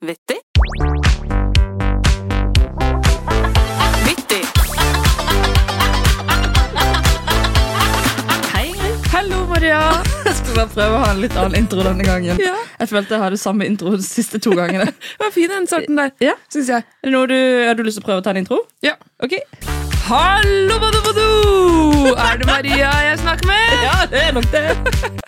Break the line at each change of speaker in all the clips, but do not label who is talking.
Vittig. Vittig. Hei, Ingrid.
Hallo, Maria! Jeg skulle bare prøve å ha en litt annen intro denne gangen.
Ja.
Jeg følte jeg hadde samme intro de siste to gangene.
Det var fin den starten der,
Ja.
syns jeg.
Er det noe du, har du lyst til å prøve å ta en intro?
Ja.
Ok.
Hallo, bado, bado! Er det Maria jeg snakker med?
Ja, det er nok det.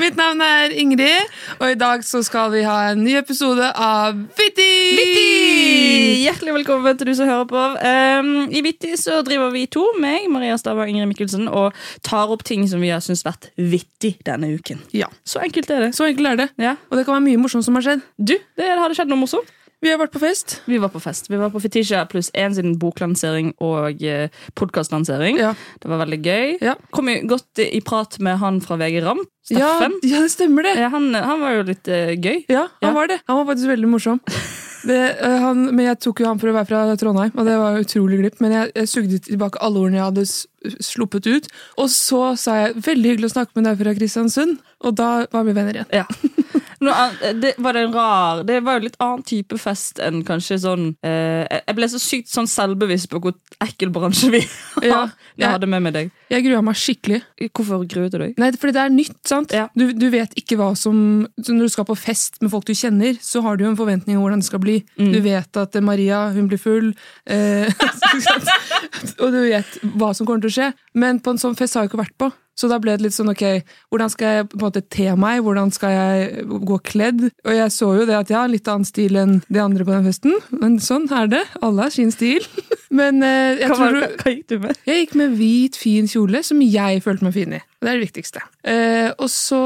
Mitt navn er Ingrid, og i dag så skal vi ha en ny episode av Vittig!
Hjertelig velkommen til du som hører på. Um, I Vitti så driver vi to, meg, Maria Stava og Ingrid Mikkelsen, og tar opp ting som vi har syntes vært vittig denne uken.
Ja,
Så enkelt er det.
Så enkelt er det.
Ja.
Og det kan være mye morsomt som har skjedd.
Du, det hadde skjedd noe morsomt.
Vi har vært på fest.
Vi var på fest. Vi var på Fetisha pluss én sin boklansering og eh, podkastlansering.
Ja.
Det var veldig gøy.
Ja.
Kom jo godt i prat med han fra VG Ramp, Steffen.
Ja, ja, det stemmer det.
Eh, Han, han var jo litt eh, gøy.
Ja, han
Ja.
var det. Han var faktisk veldig morsom. Det, eh, han, men jeg tok jo han for å være fra Trondheim, og det var jo utrolig glipp. Men jeg, jeg sugde tilbake alle ordene jeg hadde s- sluppet ut. Og så sa jeg 'veldig hyggelig å snakke med deg fra Kristiansund', og da var vi venner igjen.
Ja. Noe annet, eh, det var det en rar Det var jo litt annen type fest enn kanskje sånn eh, Jeg ble så sykt sånn selvbevisst på hvor ekkel bransje vi har.
Ja.
Jeg hadde med meg deg.
Jeg grua meg skikkelig.
Hvorfor gruet du deg?
Nei, fordi det er nytt, sant?
Ja.
Du, du vet ikke hva som så Når du skal på fest med folk du kjenner, så har du jo en forventning om hvordan det skal bli. Du vet at eh, Maria, hun blir full, eh, og du vet hva som kommer til å skje. Men på en sånn fest har jeg ikke vært på. Så da ble det litt sånn ok, hvordan skal jeg på en måte te meg, hvordan skal jeg gå kledd? Og jeg så jo det at jeg har en litt annen stil enn de andre på den festen, men sånn er det. Alle har sin stil. Men eh, jeg
Hva, var-
tror
hva, hva gikk du med?
jeg gikk med hvit, fin kjole som jeg følte meg fin i. Og Det er det viktigste. Eh, og så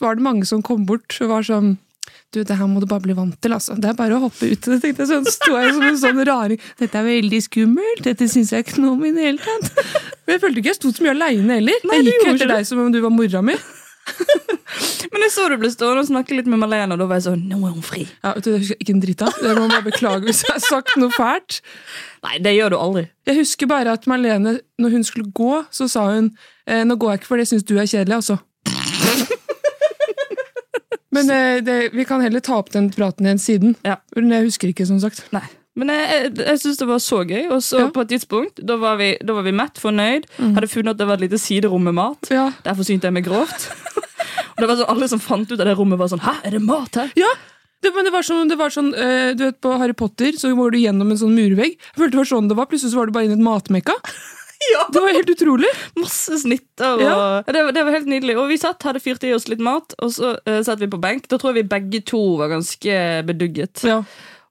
var det mange som kom bort og var sånn du, det her må du bare bli vant til, altså. Det er bare å hoppe ut. Det tenkte jeg sånn, sto jeg som en sånn raring. Dette er veldig skummelt, dette syns jeg ikke noe om i det hele tatt. Men jeg følte ikke jeg sto så mye aleine heller.
Nei,
jeg
du
gikk jo
gjorde
etter
ikke
deg som om du var mora mi.
Men jeg så du ble stående og snakke litt med Malene, og da var jeg sånn Nå er hun fri.
Ja, vet du, Det husker jeg ikke en dritt av. Jeg må bare beklage hvis jeg har sagt noe fælt.
Nei, det gjør du aldri.
Jeg husker bare at Marlene, når hun skulle gå, så sa hun eh, Nå går jeg ikke, for det syns du er kjedelig, altså. Men eh, det, vi kan heller ta opp den praten igjen siden.
Ja.
Men jeg husker ikke, som sagt.
Nei. Men jeg, jeg, jeg syns det var så gøy. Og så
Ja. Mhm.
på et tidspunkt, da var vi, da var vi mett, fornøyd. Hadde funnet at det var et lite siderom med mat.
Ja.
Der forsynte jeg meg grovt. og det var sånn, Alle som fant ut av det rommet, var sånn Hæ, er det mat her?
ja. Det, men det var sånn, det var sånn eh, du vet På Harry Potter så går du gjennom en sånn murvegg. Jeg følte det var sånn det var. Plutselig så var det bare inn i et matmekka.
Ja.
Det var helt utrolig.
Masse snitter. Og,
Ja.
det, var- det var helt nydelig. Og vi satt, hadde fyrt i oss litt mat, og så eh, satt vi på benk. Da tror jeg vi begge to var ganske bedugget.
Ja.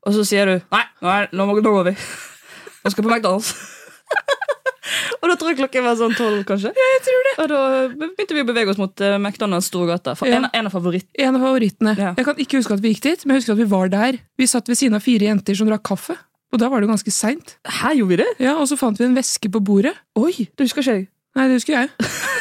Og så sier du Nei, nå, er, nå, må, nå går vi. Nå skal jeg på McDonald's. og da tror jeg klokken var sånn tolv, kanskje. Ja, jeg tror det Og da begynte vi å bevege oss mot eh, McDonald's Storgata. For
Ja.
en, en av favorittene.
En av favorittene.
Ja.
Jeg kan ikke huske at vi gikk dit, men jeg husker at vi var der. Vi satt ved siden av fire jenter som drakk kaffe. Og da var det jo ganske seint.
Her gjorde vi det?
Ja, og så fant vi en veske på bordet.
Oi, Det husker ikke jeg.
Nei, det husker jeg.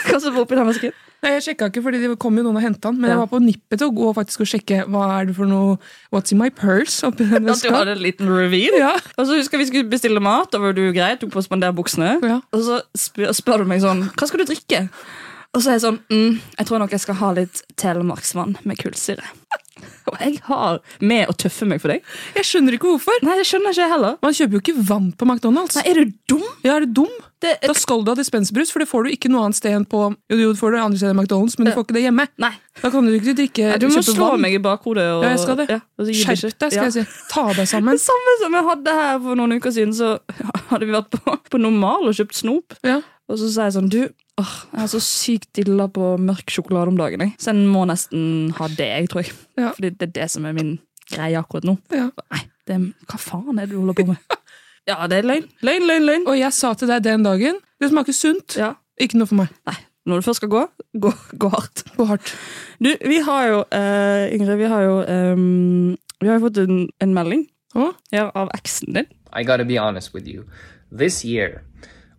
Hva som var oppi den vesken?
Nei, Jeg sjekka ikke, fordi det kom jo noen og henta den. Men
Ja.
jeg var på nippet til å gå faktisk og sjekke hva er det for noe What's in my purse? oppi den
At du
veska.
hadde en liten reveal?
Ja.
Og så husker jeg vi skulle bestille mat, da var du grei, tok på å spandere buksene.
Ja.
Og så spør, spør du meg sånn Hva skal du drikke? Og så er jeg sånn mm, Jeg tror nok jeg skal ha litt telemarksvann med kullsyre. Og jeg har med å tøffe meg for deg.
Jeg skjønner ikke hvorfor.
Nei, det skjønner ikke jeg heller.
Man kjøper jo ikke vann på McDonald's.
Nei, er du dum?
Ja, er du dum?
Det,
Da skal du ha dispenserbrus, for det får du ikke noe annet sted enn på Jo, jo, du får det andre stedet enn McDonald's, men du får ikke det hjemme.
nei.
Da kan du ikke drikke
Du må
kjøpe
slå
vann.
meg i bakhodet. Og,
Ja, jeg skal det.
Ja, og så gir du
Skjerp
ikke.
deg,
Ja.
skal jeg si. Ta deg sammen.
Det samme som jeg hadde her for noen uker siden, så hadde vi vært på, på normal og kjøpt snop.
Ja.
Og så sa jeg sånn Du, åh, jeg er så sykt dilla på mørk sjokolade om dagen. Jeg. Så jeg må nesten ha det, jeg tror jeg.
Ja.
Fordi det er det som er min greie akkurat nå.
Ja.
Nei, det er, hva faen er det du holder på med? ja, det er løgn. Løgn, løgn, løgn.
Og jeg sa til deg den dagen Det smaker sunt.
Ja.
Ikke noe for meg.
Nei, når du først skal gå, gå, gå hardt.
Gå hardt.
Du, vi har jo, eh, Ingrid, vi har jo ehm, Vi har jo fått en, en melding
Å?
ja, av eksen din.
I gotta be honest with you. This year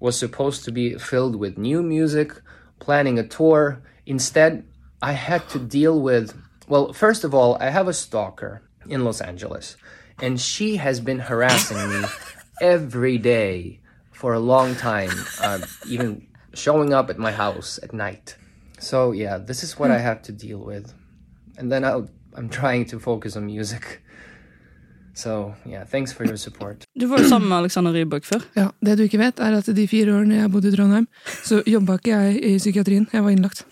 was supposed to be filled with new music, planning a tour. Instead, I had to deal with, well, first of all, I have a stalker in Los Angeles, and she has been harassing me every day for a long time, uh, even showing up at my house at night. So, yeah, this is what I have to deal with. And then I'll, I'm trying to focus on music. So, yeah, thanks for your support.
Du var jo sammen med Alexander Rybak før.
Ja, Det du ikke vet, er at de fire årene jeg bodde i Trondheim, så jobba ikke jeg i psykiatrien. Jeg var innlagt.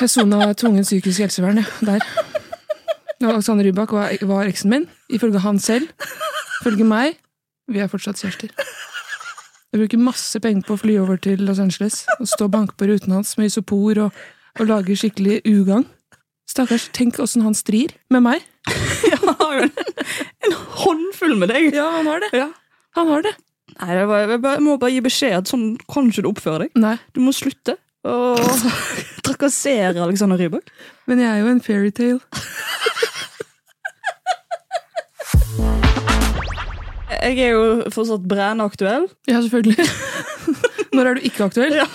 Jeg sona tvungent psykisk helsevern, ja. Der. Og Alexander Rybak var, var eksen min, ifølge han selv. Ifølge meg. Vi er fortsatt kjærester. Jeg bruker masse penger på å fly over til Los Angeles og stå og banke på ruten hans med isopor og, og lage skikkelig ugagn. Stakkars, tenk åssen han strir med meg.
Ja, han har jo en, en håndfull med deg.
Ja, han har det.
Ja.
Han har det.
Nei, det var, jeg bare- jeg må bare gi beskjed at sånn kan ikke du oppføre deg.
Nei.
Du må slutte å trakassere Alexander Rybak.
Men jeg er jo en fairytale.
Jeg er jo fortsatt brennaktuell.
Ja, selvfølgelig. Når er du ikke aktuell?
Ja.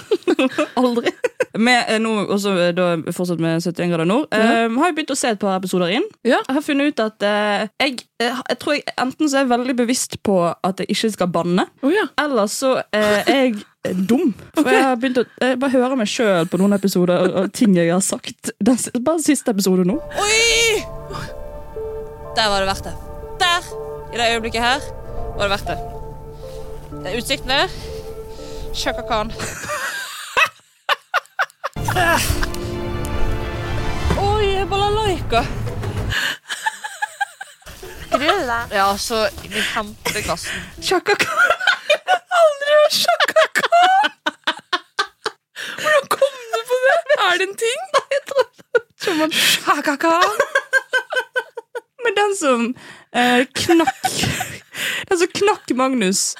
Aldri. Med, eh, nå, også, eh, da fortsatt med 71 grader nord.
Ja.
Eh, har jeg begynt å se et par episoder inn.
Ja.
Jeg har funnet ut at eh, jeg, eh, jeg tror jeg enten så er jeg veldig bevisst på at jeg ikke skal banne,
Å ja.
eller så eh, er jeg eh, dum. For jeg har begynt å jeg bare høre meg sjøl på noen episoder og ting jeg har sagt. Den, s- bare siste episode nå.
Oi! Der var det verdt det. Der, i det øyeblikket her, var det verdt det. Det er utsiktene. Shaka Khan. Oi, balalaika. Grilla. Ja, så vi henter gassen.
Chaka Khan.
Er det en ting? Shakaka.
Men den som eh, knakk Den som knakk Magnus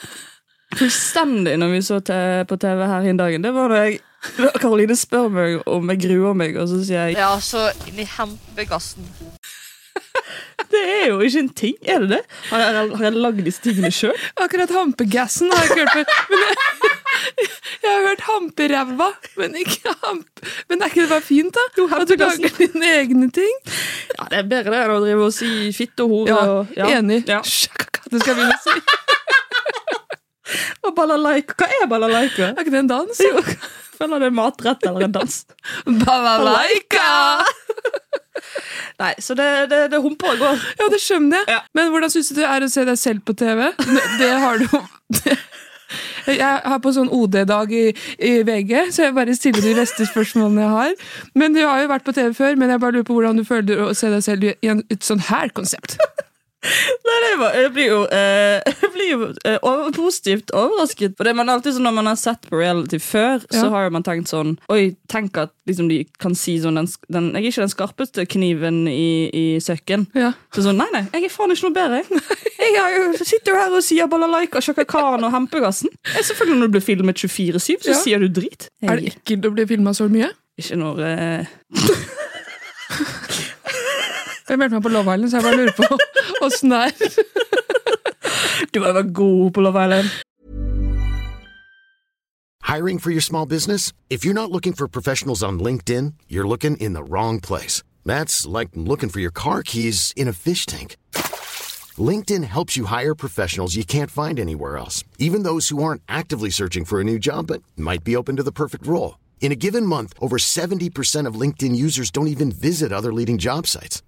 fullstendig når vi så te- på TV her en dag, det var da jeg da Karoline spør meg om jeg gruer meg, og så sier jeg
Ja, så vi henter gassen.
det er jo ikke en ting. Er det det? Har jeg, har jeg lagd disse tingene sjøl?
Akkurat hampegassen har jeg ikke hørt før. Men jeg, jeg har hørt hamperæva, men ikke hamp... Men er ikke det bare fint, da? At du
hampegassen.
lager dine egne ting?
Ja, det er bedre det enn å drive og si fitte og hore.
Ja,
og, ja.
enig.
Ja.
Shakaka, det skal jeg begynne å si.
Og balalaika. Hva er balalaika?
Er ikke det en dans?
Jo, Føler det er matrett eller en dans.
Balalaika!
Nei, så det, det, det humper og går.
Ja, det skjønner jeg.
Ja.
Men hvordan syns du det er å se deg selv på TV? Det har du det. Jeg har på sånn OD-dag i, i VG, så jeg bare stiller de beste spørsmålene jeg har. Men du har jo vært på TV før, men jeg bare lurer på hvordan du føler å se deg selv i en, et sånn her konsept.
Nei, det, var, jeg blir jo, eh, jeg blir jo eh, over, positivt overrasket. For det man alltid sånn Når man har sett på reality før, så
Ja.
har jo man tenkt sånn Oi, tenk at liksom, de kan si sånn den, sk- den, Jeg er ikke den skarpeste kniven i, i søkken.
Ja.
Så sånn, Nei, nei, jeg er faen ikke noe bedre. jeg. Jeg har jo, sitter jo her og sier balalaika, Shaka Khan og hempegassen. Eh, Selvfølgelig Når du blir filmet 24-7, så
Ja.
sier du drit.
Er det ekkelt å bli filma så mye?
Ikke når eh,
Jeg meldte meg på Love Island, så jeg bare lurer på åssen det er.
Du må jo være god på Love Island.
Hiring for your small business? If you're not looking for professionals on LinkedIn, you're looking in the wrong place. That's like looking for your car keys in a fish tank. LinkedIn helps you hire professionals you can't find anywhere else, even those who aren't actively searching for a new job but might be open to the perfect role. In a given month, over 70% of LinkedIn users don't even visit other leading job sites.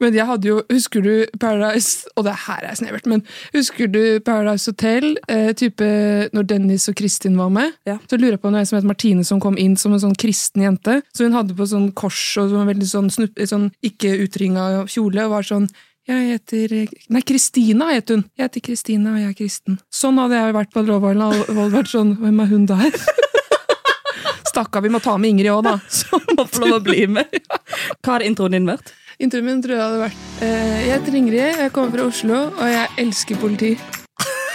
Men jeg hadde jo, husker du Paradise Og det her er snevert, men husker du Paradise Hotel? Eh, type når Dennis og Kristin var med?
Ja.
Så lurer jeg på noe som het Martine, som kom inn som en sånn kristen jente. Så hun hadde på sånn kors og sånn veldig sånn, snupp, sånn ikke utringa kjole, og var sånn jeg heter Nei, Kristina het hun. Jeg heter Kristina, og jeg er kristen. Sånn hadde jeg vært på Love Island og og vært sånn Hvem er hun der? Stakkar, vi må ta med Ingrid òg, da. Sånn
Må få lov å bli med. Hva hadde introen din vært?
Introen min tror jeg hadde vært eh, Jeg heter Ingrid, jeg kommer fra Oslo, og jeg elsker politi.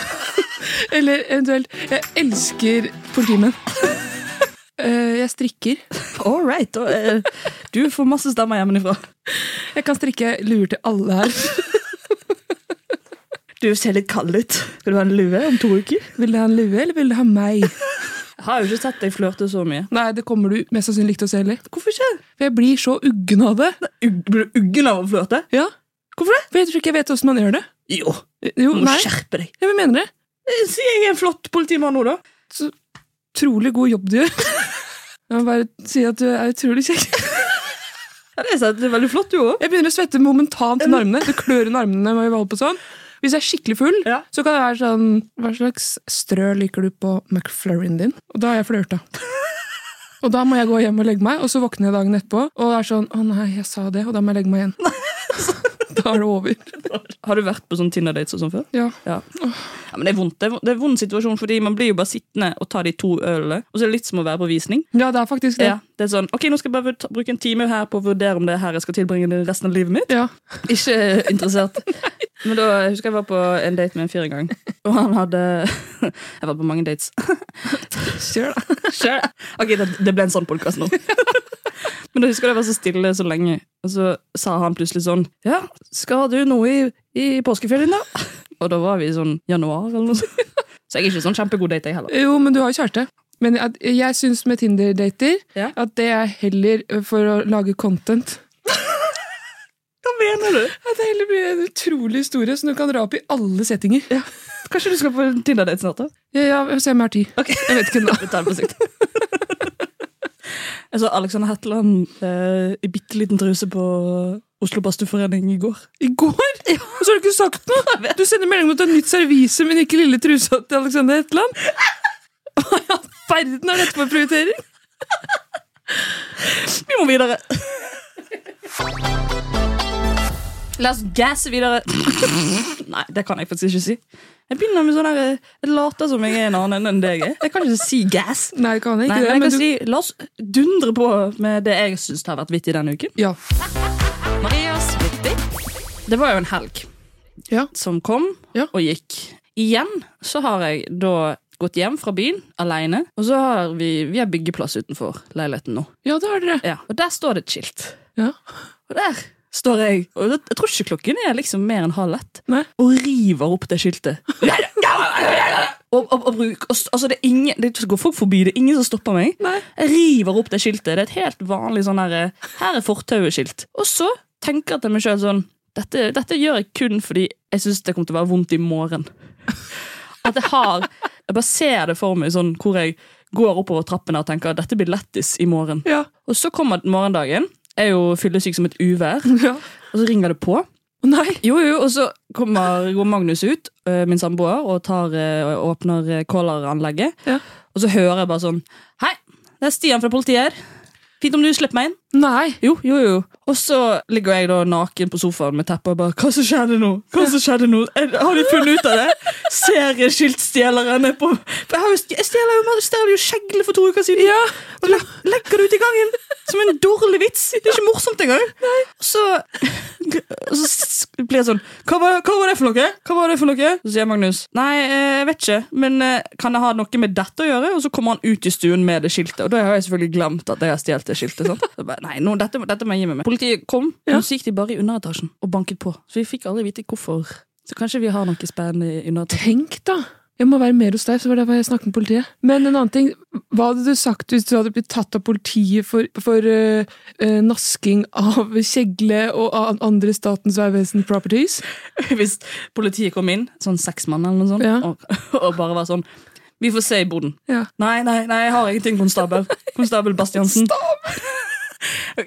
Eller eventuelt Jeg elsker politimenn. Eh, Jeg strikker.
All right. Da, eh, du får masse stemmer hjemmefra.
Jeg kan strikke luer til alle her.
Du ser litt kald ut. Skal du ha en lue om to uker?
Vil du ha en lue, eller vil du ha meg?
Jeg har jo ikke sett deg flørte så mye.
Nei, det kommer du mest sannsynlig ikke til å se heller.
Hvorfor ikke?
For jeg blir så uggen av det.
Ugg- Blir du uggen av å flørte?
Ja. Hvorfor det? For jeg tror ikke jeg vet åssen man gjør det.
Jo.
Jo,
Du må
nei.
skjerpe deg.
Jeg mener det.
Eh, Si jeg er en flott politimann nå, da.
Utrolig god jobb du gjør. Jeg må bare si at du er utrolig kjekk.
Ja, det er sant. Det er veldig flott, du òg.
Jeg begynner å svette momentant under armene. Det klør under armene når vi holder på sånn. Hvis jeg er skikkelig full,
Ja.
så kan det være sånn Hva slags strø liker du på McFlurryen din? Og da har jeg flørta. Og da må jeg gå hjem og legge meg, og så våkner jeg dagen etterpå og er sånn Å nei, jeg sa det, og da må jeg legge meg igjen. Da er det over.
Har du vært på sånn Tinder-dates og sånn før?
Ja.
Ja. ja, men Det er vondt. Det er vondt- det er en vond situasjon, fordi man blir jo bare sittende og ta de to ølene. Og så er det litt som å være på visning.
ja, det er faktisk det.
Ja, det er sånn, ok, Nå skal jeg bare ta- bruke en time her på å vurdere om det er her jeg skal tilbringe det resten av livet mitt.
Ja.
Ikke interessert. Men da jeg husker jeg var på en date med en fyr en gang, og han hadde Jeg var på mange dates.
Kjør, da.
Sure. Ok, det, det ble en sånn podkast nå. Men da husker jeg det var så stille så lenge, og så sa han plutselig sånn Ja, skal du noe i, i påskeferien, da? Og da var vi i sånn januar eller noe sånt. Så jeg er ikke sånn kjempegod date, jeg heller.
Jo, men du har jo kjæreste. Men at, jeg syns med Tinder-dater
Ja.
at det er heller for å lage content.
Hva mener du?
At det heller blir en utrolig historie som du kan dra opp i alle settinger. Ja,
Kanskje du skal på en Tinder-date snart, da?
ja, vi får se om jeg har tid. Jeg vet ikke nå.
Vi tar det på sikt. Jeg så Alexander Hetland eh, i bitte liten truse på eh, Oslo Badstueforening i går.
I går? Og så har du ikke sagt noe! Du sender melding om at du har nytt servise, men ikke lille trusa til Alexander Hetland. Hva i all verden er dette for prioritering?
Vi må videre! La oss gasse videre. Nei, det kan jeg faktisk ikke si. Jeg begynner med sånn her, eh, jeg later som jeg er en annen enn deg. er. Jeg kan ikke si gass.
Nei, det kan jeg
Nei, men
ikke. det,
jeg
men
kan
du...
si, La oss dundre på med det jeg syns har vært vittig denne uken.
Ja.
Marias vittig.
Det var jo en helg
Ja.
som kom
Ja.
og gikk. Igjen så har jeg da gått hjem fra byen alene, og så har vi, vi har byggeplass utenfor leiligheten nå.
ja, det har dere.
Ja, og der står det et skilt.
Ja.
Og der står jeg, og det- jeg tror ikke klokken er liksom mer enn halv ett,
Nei.
og river opp det skiltet. Og, og, og bruk, og, s- altså det er ingen, det går folk forbi, det er ingen som stopper meg.
Nei.
Jeg river opp det skiltet. Det er et helt vanlig sånn her, her er fortauet-skilt. Og så tenker jeg til meg sjøl sånn dette, dette gjør jeg kun fordi jeg syns det kommer til å være vondt i morgen. At jeg har Jeg bare ser det for meg sånn hvor jeg går oppover trappene og tenker dette blir lættis i morgen.
Ja.
Og så kommer morgendagen. Jeg er jo fyllesyk som et uvær.
ja.
Og så ringer det på.
Å, Nei.
Jo, jo, og så kommer, går Magnus ut, eh, min samboer, og tar, eh, og åpner eh, kåleranlegget.
Ja.
Og så hører jeg bare sånn Hei, det er Stian fra politiet her. Fint om du slipper meg inn.
Nei.
Jo, jo, jo. Og så ligger jeg da naken på sofaen med teppet og bare Hva som skjedde nå? Hva som skjedde nå? Er- Har de funnet ut av det? Serieskiltstjeleren er på For jeg, har jo, st- jeg stjeler jo, jeg stjeler jo skjegle for to uker siden.
Ja.
Og le legger det ut i gangen som en dårlig vits. Det er ikke morsomt engang. Og så, og så s- blir jeg sånn hva var, hva var det for noe? Hva var det for noe? Så sier Magnus Nei, eh, jeg vet ikke, men eh, kan det ha noe med dette å gjøre? Og så kommer han ut i stuen med det skiltet, og da har jeg selvfølgelig glemt at jeg har stjålet det skiltet. Sant? Så Bare, Nei, nå, dette, dette må jeg gi meg med. Politiet kom, og så gikk de bare i underetasjen og banket på. Så vi fikk aldri vite hvorfor. Så kanskje vi har noe spennende i underetasjen.
Tenk, da. Jeg må være mer hos deg, så var det derfor jeg snakket med politiet. Men en annen ting, hva hadde du sagt hvis du hadde blitt tatt av politiet for, for eh, eh, nasking av kjegle og av andre Statens vegvesen properties?
Hvis politiet kom inn, sånn seks mann eller noe sånt,
Ja.
og, og bare var sånn Vi får se i boden.
Ja.
Nei, nei, nei, jeg har ingenting, konstabel. Konstabel Bastiansen.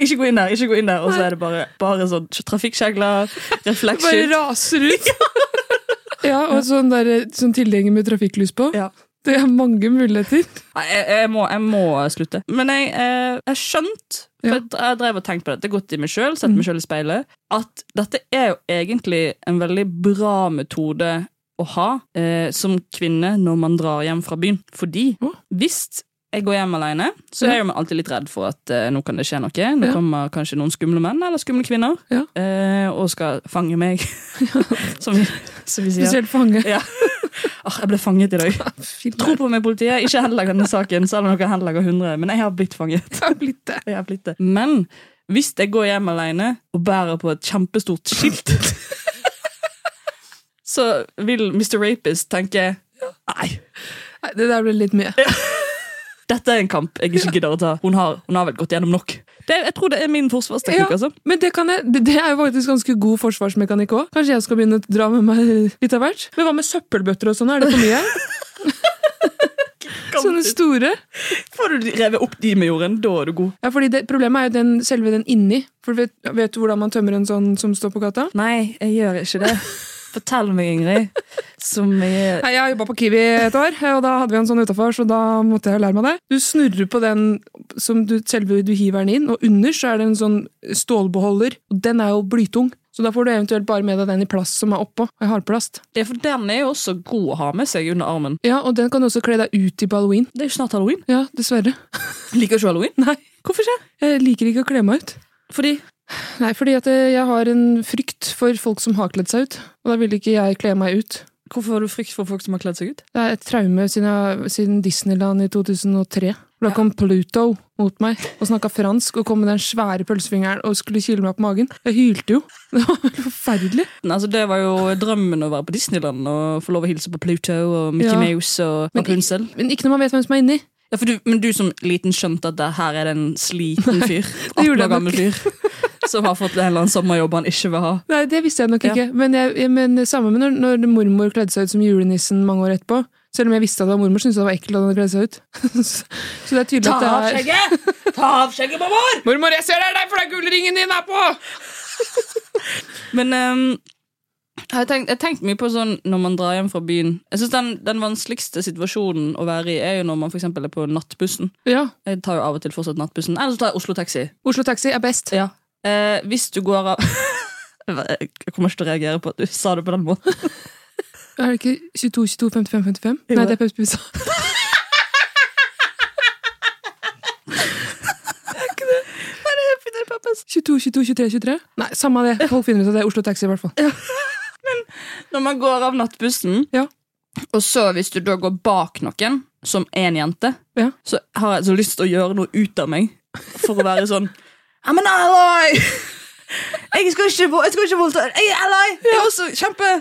ikke gå inn der, ikke gå inn der. Og så er det bare, bare sånn trafikkjegler,
Bare
refleksskilt.
raser ut. ja, og sånn, der, sånn tilhenger med trafikklys på.
Ja.
Det er mange muligheter.
Nei, jeg, jeg, må, jeg må slutte. Men jeg, eh, jeg skjønt, for
Ja. Mm.
jeg, jeg drev og tenkte på dette godt i meg sjøl, sett meg sjøl i speilet, at dette er jo egentlig en veldig bra metode å ha eh, som kvinne når man drar hjem fra byen. Fordi
Å.
hvis jeg går hjem alene, så er jeg jo alltid litt redd for at eh, nå kan det skje noe. Nå
Ja.
kommer kanskje noen skumle menn eller skumle kvinner
Ja.
eh, og skal fange meg, som, vi, som vi sier.
Spesielt fange.
Ja. Ah, jeg ble fanget i dag.
Fint.
Tro på meg, politiet. Ikke henlegg denne saken, selv om dere henlegger 100. Men jeg har blitt fanget.
Det har blitt det.
Jeg har blitt det. Men hvis jeg går hjem alene og bærer på et kjempestort skilt, så vil Mr. Rapist tenke Nei,
Nei, det der ble litt mye.
dette er en kamp jeg ikke gidder å ta. Hun har, hun har vel gått gjennom nok. Det, jeg tror det er min forsvarsteknikk. altså.
men det, kan jeg, det det er jo faktisk ganske god forsvarsmekanikk òg. Kanskje jeg skal begynne å dra med meg litt av hvert? Men hva med søppelbøtter og sånn? Er det for mye? Sånne store?
Får du revet opp de med jorden, da er du god.
Ja, fordi det, Problemet er jo den, selve den inni. For vet, vet du hvordan man tømmer en sånn som står på gata?
Nei, jeg gjør ikke det. Fortell meg, Ingrid, som jeg
Nei, Jeg har jobba på Kiwi et år, og da hadde vi en sånn utafor. Så da måtte jeg lære meg det. Du snurrer på den som du, selve du hiver den inn, og under så er det en sånn stålbeholder. Og den er jo blytung, så da får du eventuelt bare med deg den i plast som er oppå. Og jeg har plast.
Ja, for den er jo også god å ha med seg under armen.
Ja, og den kan du også kle deg ut i på halloween.
Det er jo snart halloween.
Ja, dessverre.
Liker ikke halloween?
Nei,
Hvorfor ikke?
jeg liker ikke å kle meg ut.
Fordi
Nei, fordi at eh, jeg har en frykt for folk som har kledd seg ut, og da vil ikke jeg kle meg ut.
Hvorfor har du frykt for folk som har kledd seg ut?
Det er et traume siden, jeg, siden Disneyland i 2003. Da kom Pluto mot meg og snakka fransk og kom med den svære pølsefingeren og skulle kile meg på magen. Jeg hylte jo. Det var forferdelig.
Altså, det var jo drømmen å være på Disneyland og få lov å hilse på Pluto og Mickey
Ja.
Mouse og Rapunzel.
Men ikke når man vet hvem som er inni.
Ja, for du, men du som liten skjønte at det her er det en sliten fyr, 18
gjorde jeg
år gammel fyr, som har fått en eller annen sommerjobb han ikke vil ha.
Nei, det visste jeg nok
Ja.
ikke. Men, jeg, jeg- men samme med når, når mormor kledde seg ut som julenissen mange år etterpå. Selv om jeg visste at det var mormor, syntes jeg det var ekkelt at hun hadde kledd seg ut. Så det er tydelig at det er
skjegget! Ta av skjegget, mormor!
Mormor, jeg ser det er deg, for det er gullringen din er på!
Men ehm, jeg har tenkt, jeg har tenkt mye på sånn når man drar hjem fra byen. Jeg synes den, den vanskeligste situasjonen å være i er jo når man for eksempel er på nattbussen.
Ja,
Jeg tar jo av og til fortsatt nattbussen. Eller så tar jeg Oslo Taxi.
Oslo Taxi er best.
Ja. Eh, hvis du går av Jeg kommer ikke til å reagere på at du sa det på den måten.
Er det ikke 22, 22, 55, 55? Nei, det er Pepsi Pizza. Er ikke det? 22, 22, 23, 23? Nei, samme av det. Folk finner ut at det er Oslo Taxi, i hvert fall.
Når man går av nattbussen,
Ja.
og så hvis du da går bak noen, som en jente,
Ja.
så har jeg så lyst til å gjøre noe ut av meg for å være sånn Ja, men ally! Jeg skal ikke, vo- jeg skal ikke voldta Jeg er ally! Jeg er også kjempe...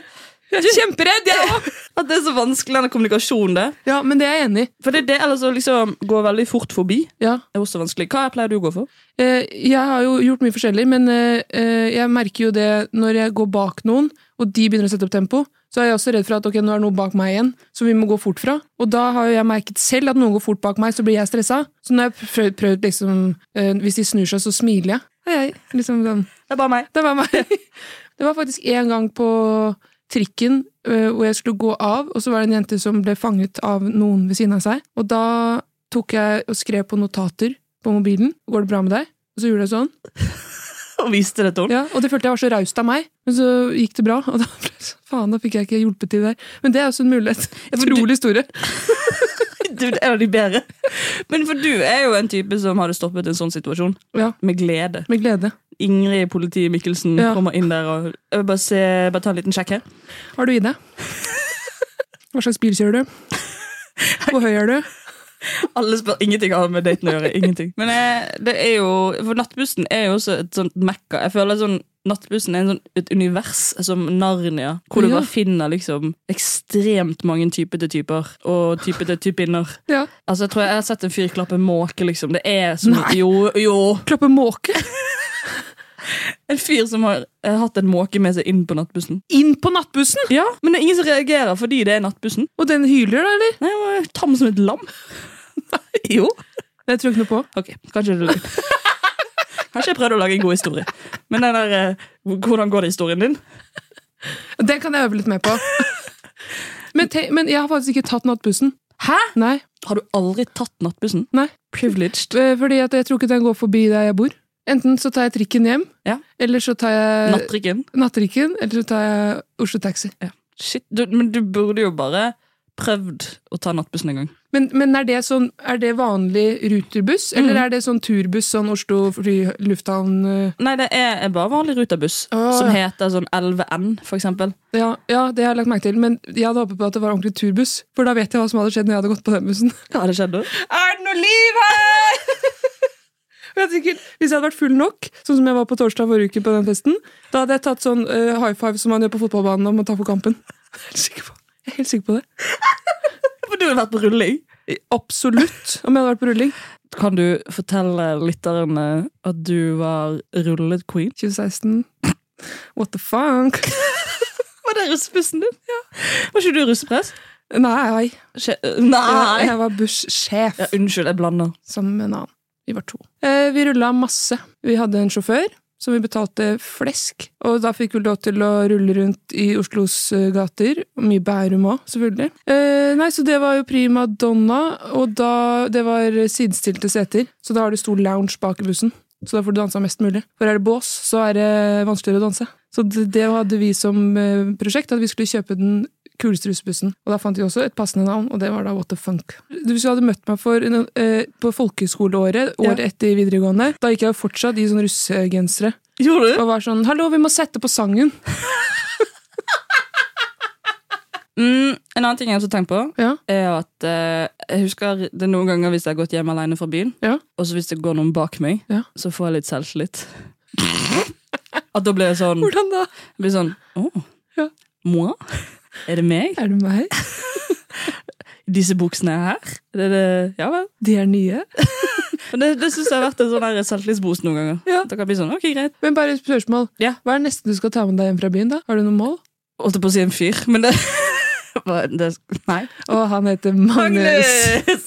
Jeg er kjemperedd, jeg òg!
At det er så vanskelig, denne kommunikasjonen der.
Ja, men det er jeg enig i.
For det er det ellers å liksom gå veldig fort forbi.
Ja.
er også vanskelig. Hva pleier du å gå for?
Eh, Jeg har jo gjort mye forskjellig, men eh, eh, jeg merker jo det når jeg går bak noen, og de begynner å sette opp tempo, så er jeg også redd for at ok, nå er noe bak meg igjen, som vi må gå fort fra. Og da har jo jeg merket selv at noen går fort bak meg, så blir jeg stressa. Så når jeg har prøvd, prøvd liksom, eh, hvis de snur seg, så smiler jeg. Hei, hei. Liksom sånn.
Det er bare meg.
Det var meg. Det var faktisk en gang på trikken øh, hvor jeg skulle gå av, og så var det en jente som ble fanget av noen ved siden av seg. Og da tok jeg og skrev på notater på mobilen. Går det bra med deg? Og så gjorde jeg sånn.
Og viste det til henne.
Ja, og det følte jeg var så raust av meg, men så gikk det bra. Og da ble jeg så, faen, da fikk jeg ikke hjulpet til der. Men det er også en mulighet. Utrolig store.
Du, det er jo de bedre. Men for du er jo en type som hadde stoppet en sånn situasjon.
Ja,
Med glede.
med glede.
Ingrid politi Mikkelsen
Ja.
kommer inn der og jeg vil bare, se, bare ta en liten sjekk her.
Har du i deg? Hva slags bil kjører du? Hvor høy er du?
Alle spør ingenting har med daten å gjøre. ingenting. Men eh, det er jo, for nattbussen er jo også et sånt mekka. Jeg føler sånn, Nattbussen er en sånn, et univers som Narnia, hvor du
Ja.
bare finner liksom ekstremt mange typete typer og typete typinner.
Ja.
Altså, Jeg tror jeg har sett en fyr klappe måke, liksom. Det er som
Nei.
Jo, jo.
Klappe måke
En fyr som har eh, hatt en måke med seg inn på nattbussen.
inn på nattbussen!
Ja, Men det er ingen som reagerer fordi det er nattbussen.
Og den hyler, da, eller?
Nei, Han var tam som et lam. Nei, jo.
Det tror jeg ikke noe på.
Ok, kanskje det Kanskje jeg prøvde å lage en god historie. Men den der, eh, hvordan går det i historien din?
Det kan jeg øve litt mer på. Men, te men jeg har faktisk ikke tatt nattbussen. Hæ? Nei,
Har du aldri tatt nattbussen?
nei.
Privileged.
Eh, Fordi at jeg tror ikke den går forbi der jeg bor. Enten så tar jeg trikken hjem,
Ja.
eller så tar
Eh,
jeg
Nattrikken.
nattrikken, eller så tar jeg Oslo Taxi.
Shit, du, men du burde jo bare prøvd å ta nattbussen en gang.
Men, men er, det sånn, er det vanlig ruterbuss, eller er det sånn turbuss, sånn Oslo fly, lufthavn eh?
Nei, det er er bare vanlig ruterbuss,
Å,
som
ja.
heter sånn 11N, for eksempel.
ja, ja, det har jeg lagt merke til, men jeg hadde håpet på at det var ordentlig turbuss, for da vet jeg hva som hadde skjedd når jeg hadde gått på den bussen.
Hva hadde skjedd da?
Er det noe liv her?! Og jeg tenker, hvis jeg hadde vært full nok, sånn som jeg var på torsdag forrige uke på den festen, da hadde jeg tatt sånn eh, high five som man gjør på fotballbanen om å ta for kampen. Jeg er helt sikker på, jeg er helt sikker på det.
For du hadde vært på rulling.
Absolutt, om jeg hadde vært på rulling.
Kan du fortelle lytterne at du var rullet queen?
2016. What the fuck?
Var det russebussen din? Ja. Var ikke du russepress?
Nei,
Skje-
jeg,
Nei!
jeg var bussjef
Ja, unnskyld, jeg blander.
sammen med en annen. Vi var to. Eh, vi rulla masse. Vi hadde en sjåfør som vi betalte flesk. Og da fikk vi lov til å rulle rundt i Oslos eh, gater. Og mye Bærum òg, selvfølgelig. Eh, nei, så det var jo prima donna, og da Det var sidestilte seter, så da har du stor lounge bak i bussen. Så da får du dansa mest mulig. For er det bås, så er det vanskeligere å danse. Så det, det hadde vi som eh, prosjekt, at vi skulle kjøpe den kuleste russebussen. Og da fant vi også et passende navn, og det var da What the Funk. Hvis du hadde møtt meg for, en- eh, på folkehøyskoleåret, året etter videregående, da gikk jeg jo fortsatt i sånne russegensere.
Gjorde du?
Og var sånn 'hallo, vi må sette på sangen'.
Mm, en annen ting jeg også tenkte på,
Ja.
er at eh, jeg husker det noen ganger hvis jeg har gått hjem alene fra byen,
Ja.
og så hvis det går noen bak meg,
Ja.
så får jeg litt selvtillit. At da blir jeg sånn,
Hvordan da?
blir sånn Å,
Ja.
moi? Er det meg?
Er det meg?
Disse buksene er her? Det, er det, ja vel.
De er nye.
Men det, det syns jeg har vært en sånn her selvtillitsboost noen ganger.
Ja.
At dere blir sånn, ok, greit.
Men bare et spørsmål.
Ja.
Hva er det neste du skal ta med deg hjem fra byen, da? Har du noe mål?
Holdt jeg på å si en fyr, men det, Hva- det Nei.
Og han heter Magnus.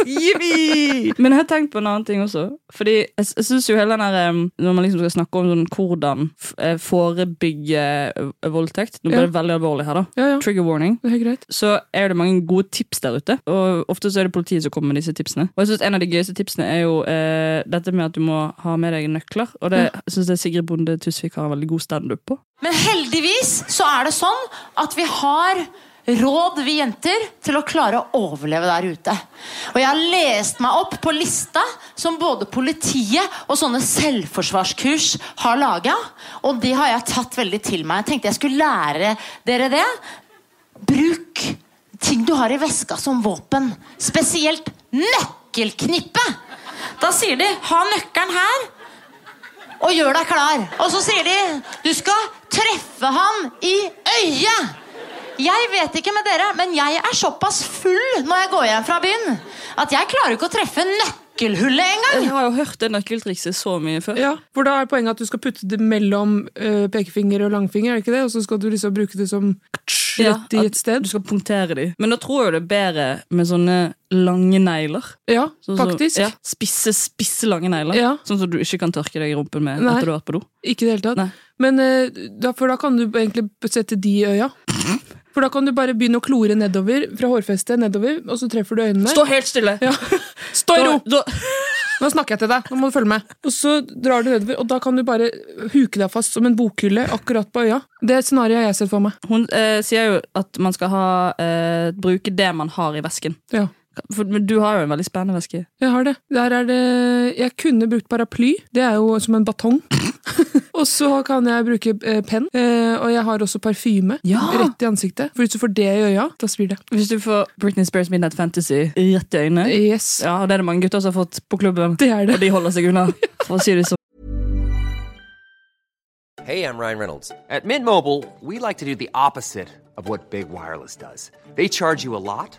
Jippi! Men jeg har tenkt på en annen ting også. Fordi jeg, s- jeg synes jo hele den der em, Når man liksom skal snakke om sånn hvordan f- eh, forebygge eh, voldtekt Nå ble
Ja.
det veldig alvorlig her, da.
Ja, ja.
Trigger warning.
Det er greit.
Så er det mange gode tips der ute, og ofte så er det politiet som kommer med disse tipsene. Og jeg synes En av de gøyeste tipsene er jo eh, dette med at du må ha med deg nøkler. Og det jeg synes jeg Sigrid Bonde Tusvik har en veldig god standup på.
Men heldigvis så er det sånn at vi har råd, vi jenter, til å klare å overleve der ute. Og jeg har lest meg opp på lista som både politiet og sånne selvforsvarskurs har laga. Og det har jeg tatt veldig til meg. Jeg tenkte jeg skulle lære dere det. Bruk ting du har i veska som våpen. Spesielt nøkkelknippe. Da sier de 'ha nøkkelen her' og gjør deg klar. Og så sier de du skal treffe han i øyet. Jeg vet ikke med dere, men jeg er såpass full når jeg går hjem fra byen at jeg klarer ikke å treffe nøkkelhullet engang.
Jeg har jo hørt det nøkkeltrikset så mye før.
Ja, for da er poenget at du skal putte det mellom eh, pekefinger og langfinger, er det ikke det? Og så skal du liksom bruke det som rett i
at
et sted.
Du skal punktere de. Men da tror jeg det er bedre med sånne lange negler.
Ja,
Sånn som-
faktisk.
ja, spisse, spisse lange negler.
Ja.
Sånn som du ikke kan tørke deg i rumpen med
Nei.
etter du har vært på do.
Ikke i det hele tatt.
Nei.
Men, eh, da, for da kan du egentlig sette de i øya. For da kan du bare begynne å klore nedover, fra hårfestet nedover, og så treffer du øynene.
Stå helt stille!
Ja. Stå i ro!
Da, da,
Nå snakker jeg til deg, nå må du følge med. Og så drar du nedover, og da kan du bare huke deg fast som en bokhylle akkurat på øya. Det er et scenario jeg har sett for meg.
hun eh, sier jo at man skal ha, eh, bruke det man har i vesken.
Ja,
For, men du har jo en veldig spennende veske.
jeg har det. Der er det Jeg kunne brukt paraply. Det er jo som en batong. og så kan jeg bruke eh, penn. Eh, og jeg har også parfyme
Ja.
rett i ansiktet. For hvis du får det i øya, da svir det.
Hvis du får Britney Spears Midnight Fantasy rett i øynene
Yes.
Ja, og Det er det mange gutter som har fått på klubben,
Det er
og
det.
de holder seg unna. For å si det sånn.
Hey, I'm Ryan Reynolds. At Mint Mobile, we like to do the opposite of what Big Wireless does. They charge you a lot,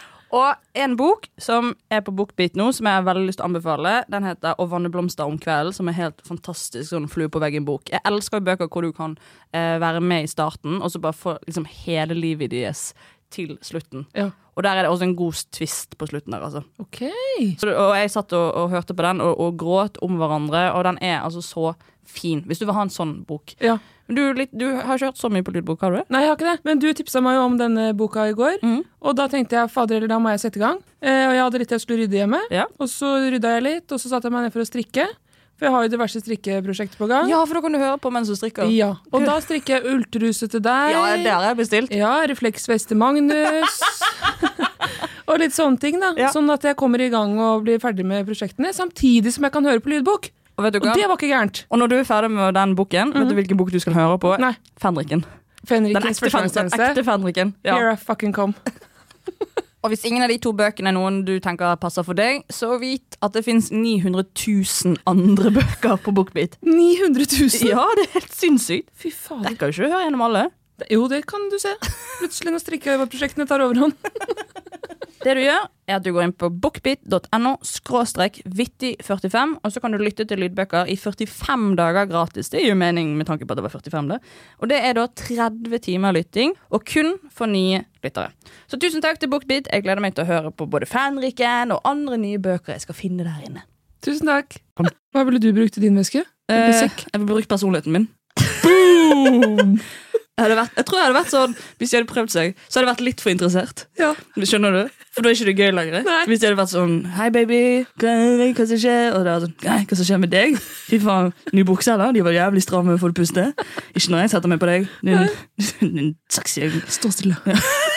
Og en bok som er på Bookbeat nå, som jeg har veldig lyst til å anbefale, den heter 'Å vanne blomster om kvelden', som er helt fantastisk sånn flue på veggen-bok. Jeg elsker jo bøker hvor du kan eh, være med i starten, og så bare få liksom, hele livet deres til slutten. Og der er det også en god twist på slutten der, altså.
Ok.
Så, det- og jeg satt og, og hørte på den og, og gråt om hverandre, og den er altså så fin. Hvis du vil ha en sånn bok. Men Du, er litt, du har ikke hørt så mye på lydbok, har du det?
Nei, jeg har ikke det. Men du tipsa meg jo om denne boka i går.
Mm.
Og da tenkte jeg fader eller da må jeg sette i gang. Eh, og jeg hadde litt jeg skulle rydde hjemme. Og så rydda jeg litt, og så satte jeg meg ned for å strikke. For jeg har jo diverse strikkeprosjekter på gang.
Ja, for da kan du høre på mens du strikker.
Ja, Og da strikker jeg ulltruse til deg.
Ja, det har jeg bestilt.
Ja, refleksvest til Magnus. og litt sånne ting, da. Sånn at jeg kommer i gang og blir ferdig med prosjektene. Samtidig som jeg kan høre på lydbok.
Og, vet du hva?
det var ikke gærent.
Og når du er ferdig med den boken, vet du hvilken bok du skal høre på?
Mhm. Nei.
Fenriken.
Fenrikens
Den ekte, fen den
førstegangstjeneste.
ekte Fenriken. Ja.
Here I fucking come.
Og hvis ingen av de to bøkene er noen du tenker passer for deg, så vit at det fins 900 000 andre bøker på Bookbeat.
900 000?
Ja, det er helt sinnssykt.
Fy faen.
Jeg kan jo ikke høre gjennom alle.
Jo, det kan du se. Plutselig når strikkeprosjektene tar overhånd.
Det du gjør, er at du går inn på bookbit.no skråstrek vittig45, og så kan du lytte til lydbøker i 45 dager gratis. Det gir jo mening med tanke på at det var 45, det. Og det er da 30 timer lytting, og kun for nye lyttere. Så tusen takk til Bookbit. Jeg gleder meg til å høre på både Fanriken og andre nye bøker jeg skal finne der inne.
Tusen takk. Hva ville du brukt i din veske? Eller
Eh,
sekk?
jeg vil bruke personligheten min.
Boom!
Jeg, hadde vært, jeg tror jeg hadde vært sånn Hvis de hadde prøvd seg, så hadde jeg vært litt for interessert.
Ja.
Skjønner du? For da er ikke det gøy lenger. Hvis de hadde vært sånn Hei, baby. Hva hva som skjer? Og det var sånn Nei, hva som skjer med deg? Fy faen. Nye bukser, da. De var jævlig stramme, får du puste? Ikke når jeg setter meg på deg. Din, din saksejegger.
Stå stille.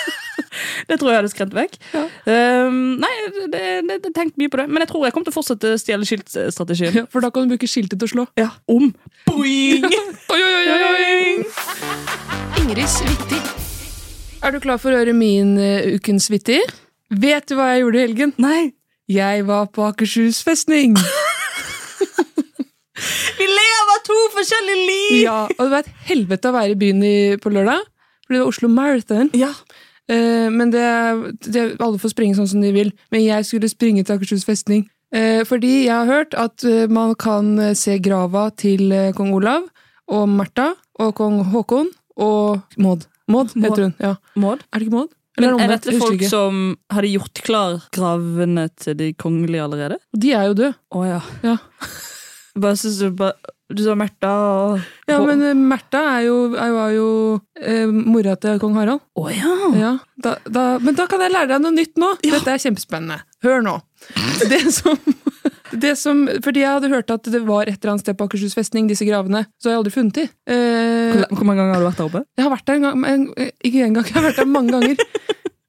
Det tror jeg hadde skremt vekk. Ehm, nei, det, det, det, jeg tenkte mye på det. Men jeg tror jeg kommer til å fortsette stjele-skilt-strategien.
For da kan du bruke skiltet til å slå.
Ja. Om. Boing!
Oi, oi, oi, oi!
Ingrids vittig.
Er du klar for å høre min eh, ukens vittig? Vet du hva jeg gjorde i helgen?
Nei.
Jeg var på Akershus festning.
Vi lever to forskjellige liv!
Ja, og det var et helvete å være i byen i, på lørdag, fordi det var Oslo Marathon. Eh, men det, det, alle får springe sånn som de vil. Men jeg skulle springe til Akershus festning. Eh, fordi jeg har hørt at eh, man kan eh, se grava til eh, kong Olav og Märtha og kong Håkon og Maud.
Maud.
Maud heter hun. ja.
Maud?
Er det ikke Maud? Eller
Men er
omvendt,
dette
jeg husker
folk
ikke.
som hadde gjort klar gravene til de kongelige allerede?
De er jo døde.
Å ja.
Ja.
Bare synes du bare Du sa Märtha og
Ja, men eh, Märtha er jo, er jo, er jo eh, mora til kong Harald.
Å ja!
Ja, da, da, men da kan jeg lære deg noe nytt nå. Dette er kjempespennende. Hør nå. Det som, det som, fordi jeg hadde hørt at det var et eller annet sted på Akershus festning, disse gravene. Så har jeg aldri funnet de. Eh,
Hvor hvor mange ganger har du vært der oppe?
jeg har vært der en gang, men, eh, ikke en gang, jeg har vært der mange ganger.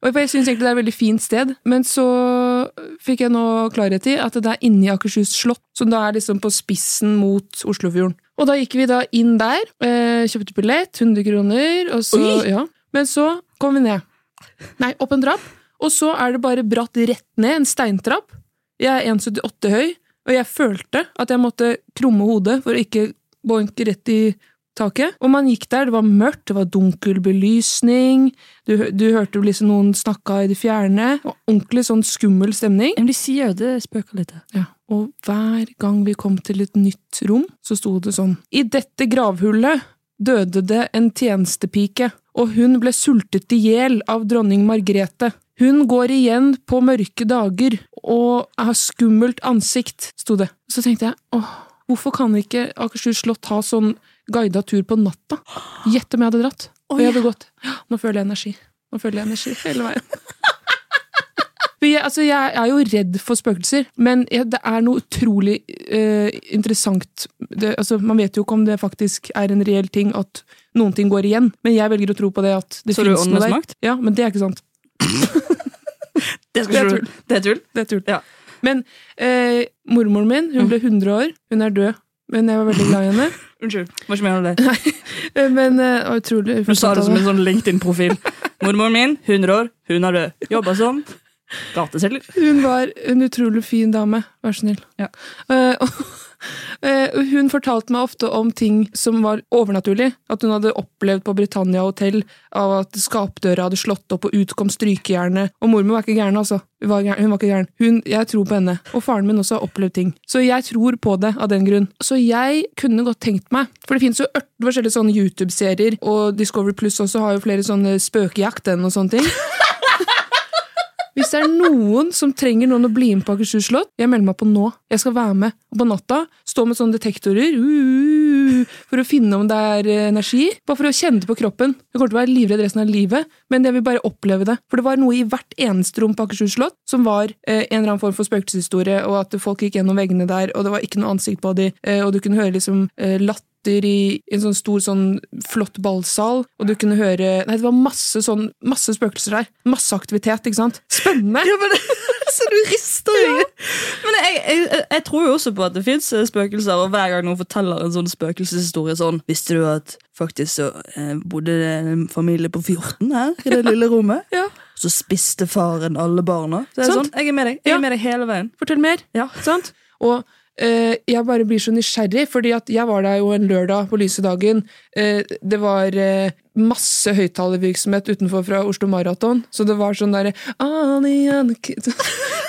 Og jeg syns egentlig det er et veldig fint sted, men så fikk jeg nå klarhet i at det er inni Akershus slott, som da er liksom på spissen mot Oslofjorden. Og da gikk vi da inn der, eh, kjøpte billett, 100 kroner, og så
Oi!
ja. Men så kom vi ned. Nei, opp en trapp, og så er det bare bratt rett ned, en steintrapp. Jeg er 1,78 høy, og jeg følte at jeg måtte krumme hodet for å ikke boinke rett i taket. Og man gikk der, det var mørkt, det var dunkel belysning, du, hø- du hørte liksom noen snakka i det fjerne, og ordentlig sånn skummel stemning.
Men de sier jo det spøker litt.
Ja, og hver gang vi kom til et nytt rom, så sto det sånn I dette gravhullet døde det en tjenestepike, og hun ble sultet i hjel av dronning Margrethe. Hun går igjen på mørke dager og har skummelt ansikt, sto det. Så tenkte jeg, åh, hvorfor kan ikke Akershus slott ha sånn guida tur på natta? Gjett om jeg hadde dratt. Og jeg hadde gått. «Ja, Nå føler jeg energi. Nå føler jeg energi hele veien. For jeg, altså, jeg er jo redd for spøkelser, men jeg, det er noe utrolig eh, interessant det, altså, Man vet jo ikke om det faktisk er en reell ting at noen ting går igjen, men jeg velger å tro på det at det
Så du har
finnes noe der.
åndesmakt?
Ja, men det er ikke sant.
Det,
Det er
skal ikke du- det er tull?
Det er tull.
Ja. Mm.
Men eh, mormoren min hun ble 100 år. Hun er død, men jeg var veldig glad i henne.
Unnskyld. Må ikke mene det.
Eh, Men eh, det var utrolig
Du sa det som en sånn LinkedIn-profil. Mormoren min, 100 år, hun er død. Jobber som gateselger.
Hun var en utrolig fin dame, vær så snill.
Ja.
Eh, og, Eh, og Hun fortalte meg ofte om ting som var overnaturlig. At hun hadde opplevd på Britannia hotell av at skapdøra hadde slått opp, og ut kom strykejernet. Og mormor var ikke gæren, altså. Hun var, gæren. Hun var ikke gæren. Hun, jeg tror på henne. Og faren min også har opplevd ting. Så jeg tror på det av den grunn. Så jeg kunne godt tenkt meg For det finnes jo ørten forskjellige sånne YouTube-serier, og Discovery Pluss også har jo flere sånne spøkejakten og sånne ting. Hvis det er noen som trenger noen å bli med på Akershus slott, jeg melder meg på nå. Jeg skal være med. Og på natta stå med sånne detektorer uh, for å finne om det er eh, energi. Bare for å kjenne det på kroppen. Jeg kommer til å være livredd resten av livet, men jeg vil bare oppleve det. For det var noe i hvert eneste rom på Akershus slott som var eh, en eller annen form for spøkelseshistorie, og at folk gikk gjennom veggene der, og det var ikke noe ansikt på de, eh, og du kunne høre liksom eh, latter i en sånn stor, sånn flott ballsal, og du kunne høre Nei, det var masse sånn, masse spøkelser der. Masse aktivitet, ikke sant? Spennende!
Så du rister i Men jeg, jeg, jeg tror jo også på at det fins spøkelser, og hver gang noen forteller en sånn spøkelseshistorie sånn Visste du at faktisk så eh, bodde det en familie på 14 her i det lille rommet?
Ja.
Så spiste faren alle barna. Så det er
Sant?
sånn, Jeg er med deg jeg
Ja.
er med deg hele veien.
Fortell mer. Sant? Og eh, jeg bare blir så nysgjerrig, fordi at jeg var der jo en lørdag på lyse dagen. Eh, det var eh, masse høyttalervirksomhet utenfor fra Oslo Maraton, så det var sånn derre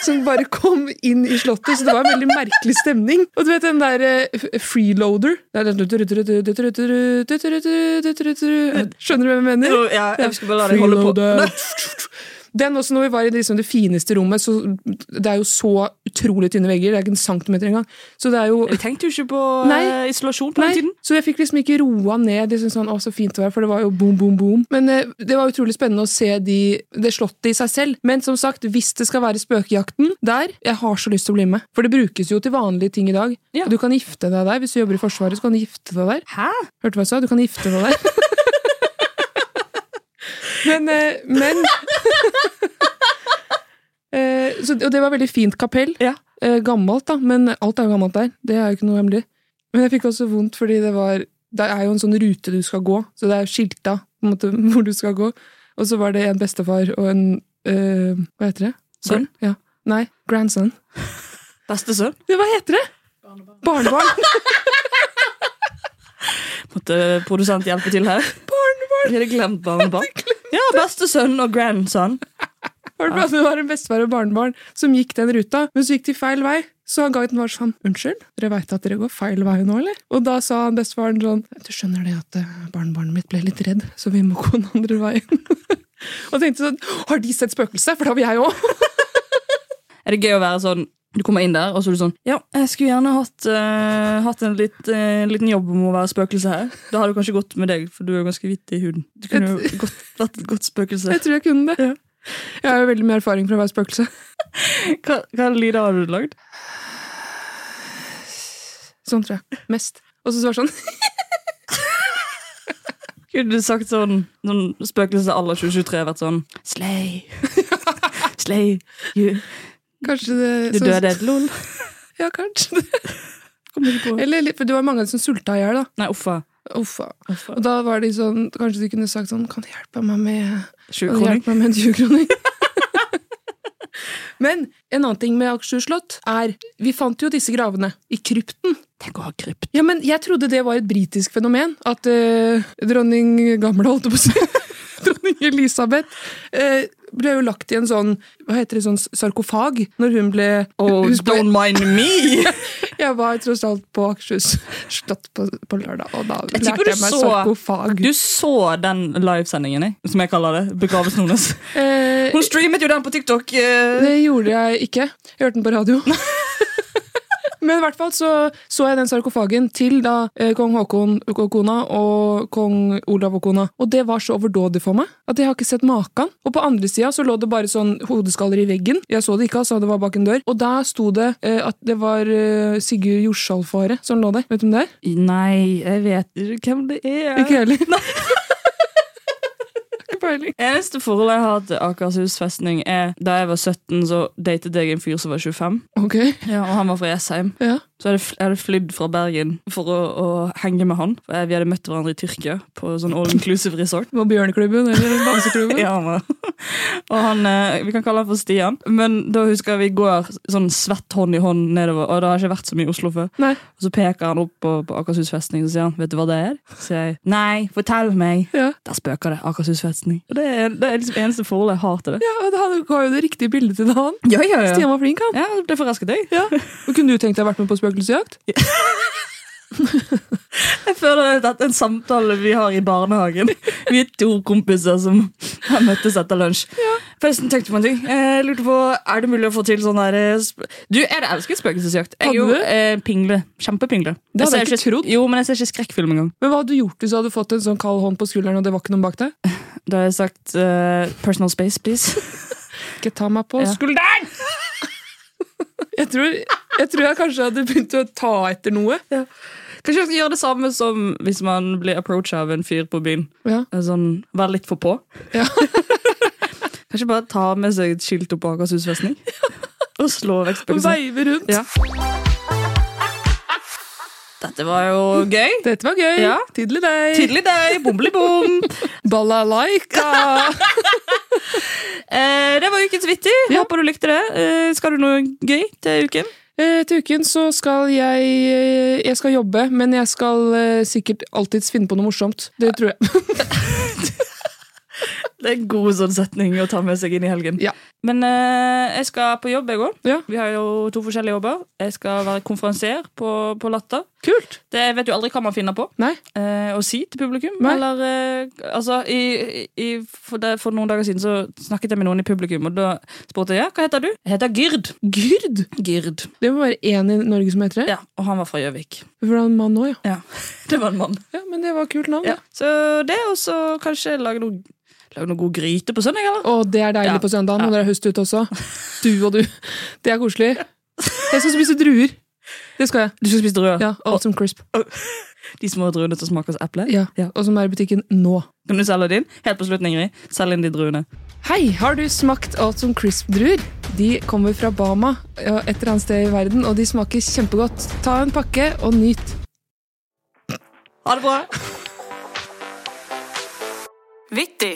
Som bare kom inn i Slottet, så det var en veldig merkelig stemning. Og du vet den der eh, f- freeloader Det er den Skjønner du hvem jeg mener?
Jo, ja, jeg skal bare la deg holde på.
Freeloader. Den også, når vi var i liksom det fineste rommet, så det er jo så utrolig tynne vegger. Det er ikke en centimeter engang. Så det er jo
Vi tenkte jo ikke på eh,
Nei.
isolasjon på
Nei,
den tiden.
så jeg fikk liksom ikke roa ned. Liksom sånn, å, så fint det var, for det var jo boom, boom, boom. Men eh, det var utrolig spennende å se de, det slottet i seg selv. Men som sagt, hvis det skal være spøkejakten der, jeg har så lyst til å bli med. For det brukes jo til vanlige ting i dag.
Ja.
Og du kan gifte deg der. Hvis du jobber i Forsvaret, så kan du gifte deg der.
Hæ?
Hørte du hva jeg sa? Du kan gifte deg der. men, eh, men Eh, så, Og det var veldig fint kapell.
Ja.
Eh, gammelt, da. Men alt er jo gammelt der. Det er jo ikke noe hemmelig. Men jeg fikk også vondt fordi det var Det er jo en sånn rute du skal gå, så det er skilta på en måte hvor du skal gå. Og så var det en bestefar og en eh, Hva heter det?
Sønn?
Ja. Nei, grandson.
Bestesønn.
Ja, Hva heter det? Barnebarn.
Måtte produsent hjelpe til her.
Barnebarn!
Vi hadde glemt barnebarn. Ja, bestesønn og grandson.
Var det, bra at det var en bestefar og barnebarn som gikk den ruta, men så gikk de feil vei. Så han guiden var sånn, unnskyld, dere veit at dere går feil vei nå, eller? Og da sa han bestefaren sånn, du skjønner det at eh, barnebarnet mitt ble litt redd, så vi må gå den andre veien. og tenkte sånn, har de sett spøkelse? For da vil jeg òg.
Er det gøy å være sånn Du kommer inn der, og så er du sånn Ja, jeg skulle gjerne hatt, eh, hatt en litt, eh, liten jobb om å være spøkelse her. Da hadde du kanskje gått med deg, for du er jo ganske hvit i huden. Du kunne jo godt vært et godt spøkelse.
Jeg tror jeg kunne det. Jeg har jo veldig mye erfaring fra å være spøkelse.
Hva, hva lyder har du lagd?
Sånn tror jeg. Mest. Og så var det sånn,
Kunne du sagt sånn noen spøkelse à la 2023 vært sånn Slay. Slay. You.
kanskje det
Du
så-
døde, lol.
Ja, kanskje det.
Kommer ikke på.
Eller, litt- for det var mange som sulta i hjel, da.
Nei, uffa.
Uffa. Og da var de sånn, kanskje de kunne sagt sånn, kan du hjelpe meg med Og
Sjukroning.
hjelp meg med en 20-kroning. Men en annen ting med Akershus slott er Vi fant jo disse gravene i krypten.
Tenk å ha krypt.
Ja, men Jeg trodde det var et britisk fenomen. At eh, dronning gamle, holdt jeg på å si. dronning Elisabeth eh, ble jo lagt i en sånn hva heter det, sånn sarkofag når hun ble
Oh,
Husk på-
don't mind me!
Jeg var tross alt på Akershus slott på, på lørdag, og da
Jeg tipper du
lærte jeg meg
så-
sarkofag.
Du så den livesendingen, jeg, som jeg kaller det. Begravelsen hennes.
Eh,
Hun streamet jo den på TikTok. eh.
Det gjorde jeg ikke. Jeg hørte den på radio. Men i hvert fall så, så jeg den sarkofagen til da eh, kong Haakon og kona og kong Olav og kona. Og det var så overdådig for meg at jeg har ikke sett maken. Og på andre sida så lå det bare sånn hodeskaller i veggen. Jeg så det ikke, altså. Det var bak en dør. Og der sto det eh, at det var eh, Sigurd Jorsalfare som lå der. Vet du hvem det er?
Nei, jeg vet ikke hvem det er.
Ikke jeg heller. Ikke peiling.
Eneste forhold jeg har til Akershus festning, er da jeg var 17, så datet jeg en fyr som var 25.
Ok.
Ja, og Han var fra Jessheim.
Ja.
Så hadde jeg fl- jeg hadde flydd fra Bergen for å, å henge med han. For jeg- Vi hadde møtt hverandre i Tyrkia, på sånn all inclusive resort.
På Bjørneklubben eller Bamseklubben?
ja, men. Og han, eh, Vi kan kalle han for Stian. Men da husker jeg vi går sånn svett hånd i hånd nedover, og det har ikke vært så mye i Oslo før.
Nei.
Og Så peker han opp på, på Akershus festning og sier han, vet du hva det er? Så sier jeg nei, fortell meg. Der spøker det. Akershus festning. Og det er, det er liksom eneste forholdet jeg har til det.
Ja, og Han ga jo det riktige bildet til han.
Ja, ja, ja.
Stian var flink, han.
Ja, det forrasket deg.
Ja. Og Kunne du tenkt deg å vært med på spøkelsesjakt?
Jeg føler at en samtale vi har i barnehagen Vi er to kompiser som har møttes etter lunsj. Forresten, tenkte på en ting. Jeg lurte på, Er det mulig å få til sånn der eh, sp- Du, jeg elsker spøkelsesjakt. Jeg er jo
Hadde du?
eh, pingle. Kjempepingle.
Det hadde
ser
jeg ikke trodd.
Jo, men jeg ser ikke skrekkfilm engang.
Men hva hadde du gjort hvis du hadde fått en sånn kald hånd på skulderen, og det var ikke noen bak deg?
Da har jeg sagt eh, 'personal space, please'.
Ikke ta meg på
Ja.
skulderen! Jeg tror, jeg tror jeg kanskje hadde begynt å ta etter noe.
Kanskje jeg skal gjøre det samme som hvis man blir approacha av en fyr på byen.
Ja.
Eh, Sånn, Være litt for på. Kanskje bare ta med seg et skilt opp på Akershus festning og slå vekk
Og
spøkelset.
veive rundt.
Ja. Dette var jo gøy.
Dette var gøy.
Ja.
Tidlig deg.
Tidlig deg, bomblibom.
Balalaika!
Eh, det var ukens vittig. Håper du likte det. Eh, skal du noe gøy til uken?
Eh, til uken så skal jeg eh, Jeg skal jobbe, men jeg skal eh, sikkert alltids finne på noe morsomt. Det tror jeg.
Det er en god sånn setning å ta med seg inn i helgen.
Ja.
Men eh, jeg skal på jobb, jeg òg.
Ja.
Vi har jo to forskjellige jobber. Jeg skal være konferansier på, på Latter.
Kult!
Det jeg vet jo aldri hva man finner på
Nei.
eh, å si til publikum.
Nei.
Eller, eh, altså, i, i, for, det, for noen dager siden så snakket jeg med noen i publikum, og da spurte jeg ja, hva heter du? Jeg heter Gyrd. Gyrd? Gyrd.
Det må være én i Norge som heter det.
Ja, og han var fra Gjøvik.
For det er en mann òg, ja.
Ja, det var en mann.
ja. Men det var et kult navn.
Ja.
da.
Så det, og så kanskje lage noe, lage noe god gryte på søndag, eller?
Og det er deilig
Ja.
på søndagen
Ja.
når det er høst ute også. Du og du. Det er koselig. Jeg skal spise druer. Det skal jeg.
Du skal spise druer?
Ja, Awesome crisp.
De små druene som smaker som eple?
Ja. Og som er i butikken nå.
Kan du selge din? Helt på slutten, Ingrid. Selg inn de druene.
Hei, har du smakt Awesome Crisp-druer? De kommer fra Bama, ja, et eller annet sted i verden, og de smaker kjempegodt. Ta en pakke og nyt.
Ha det bra!
Vittig.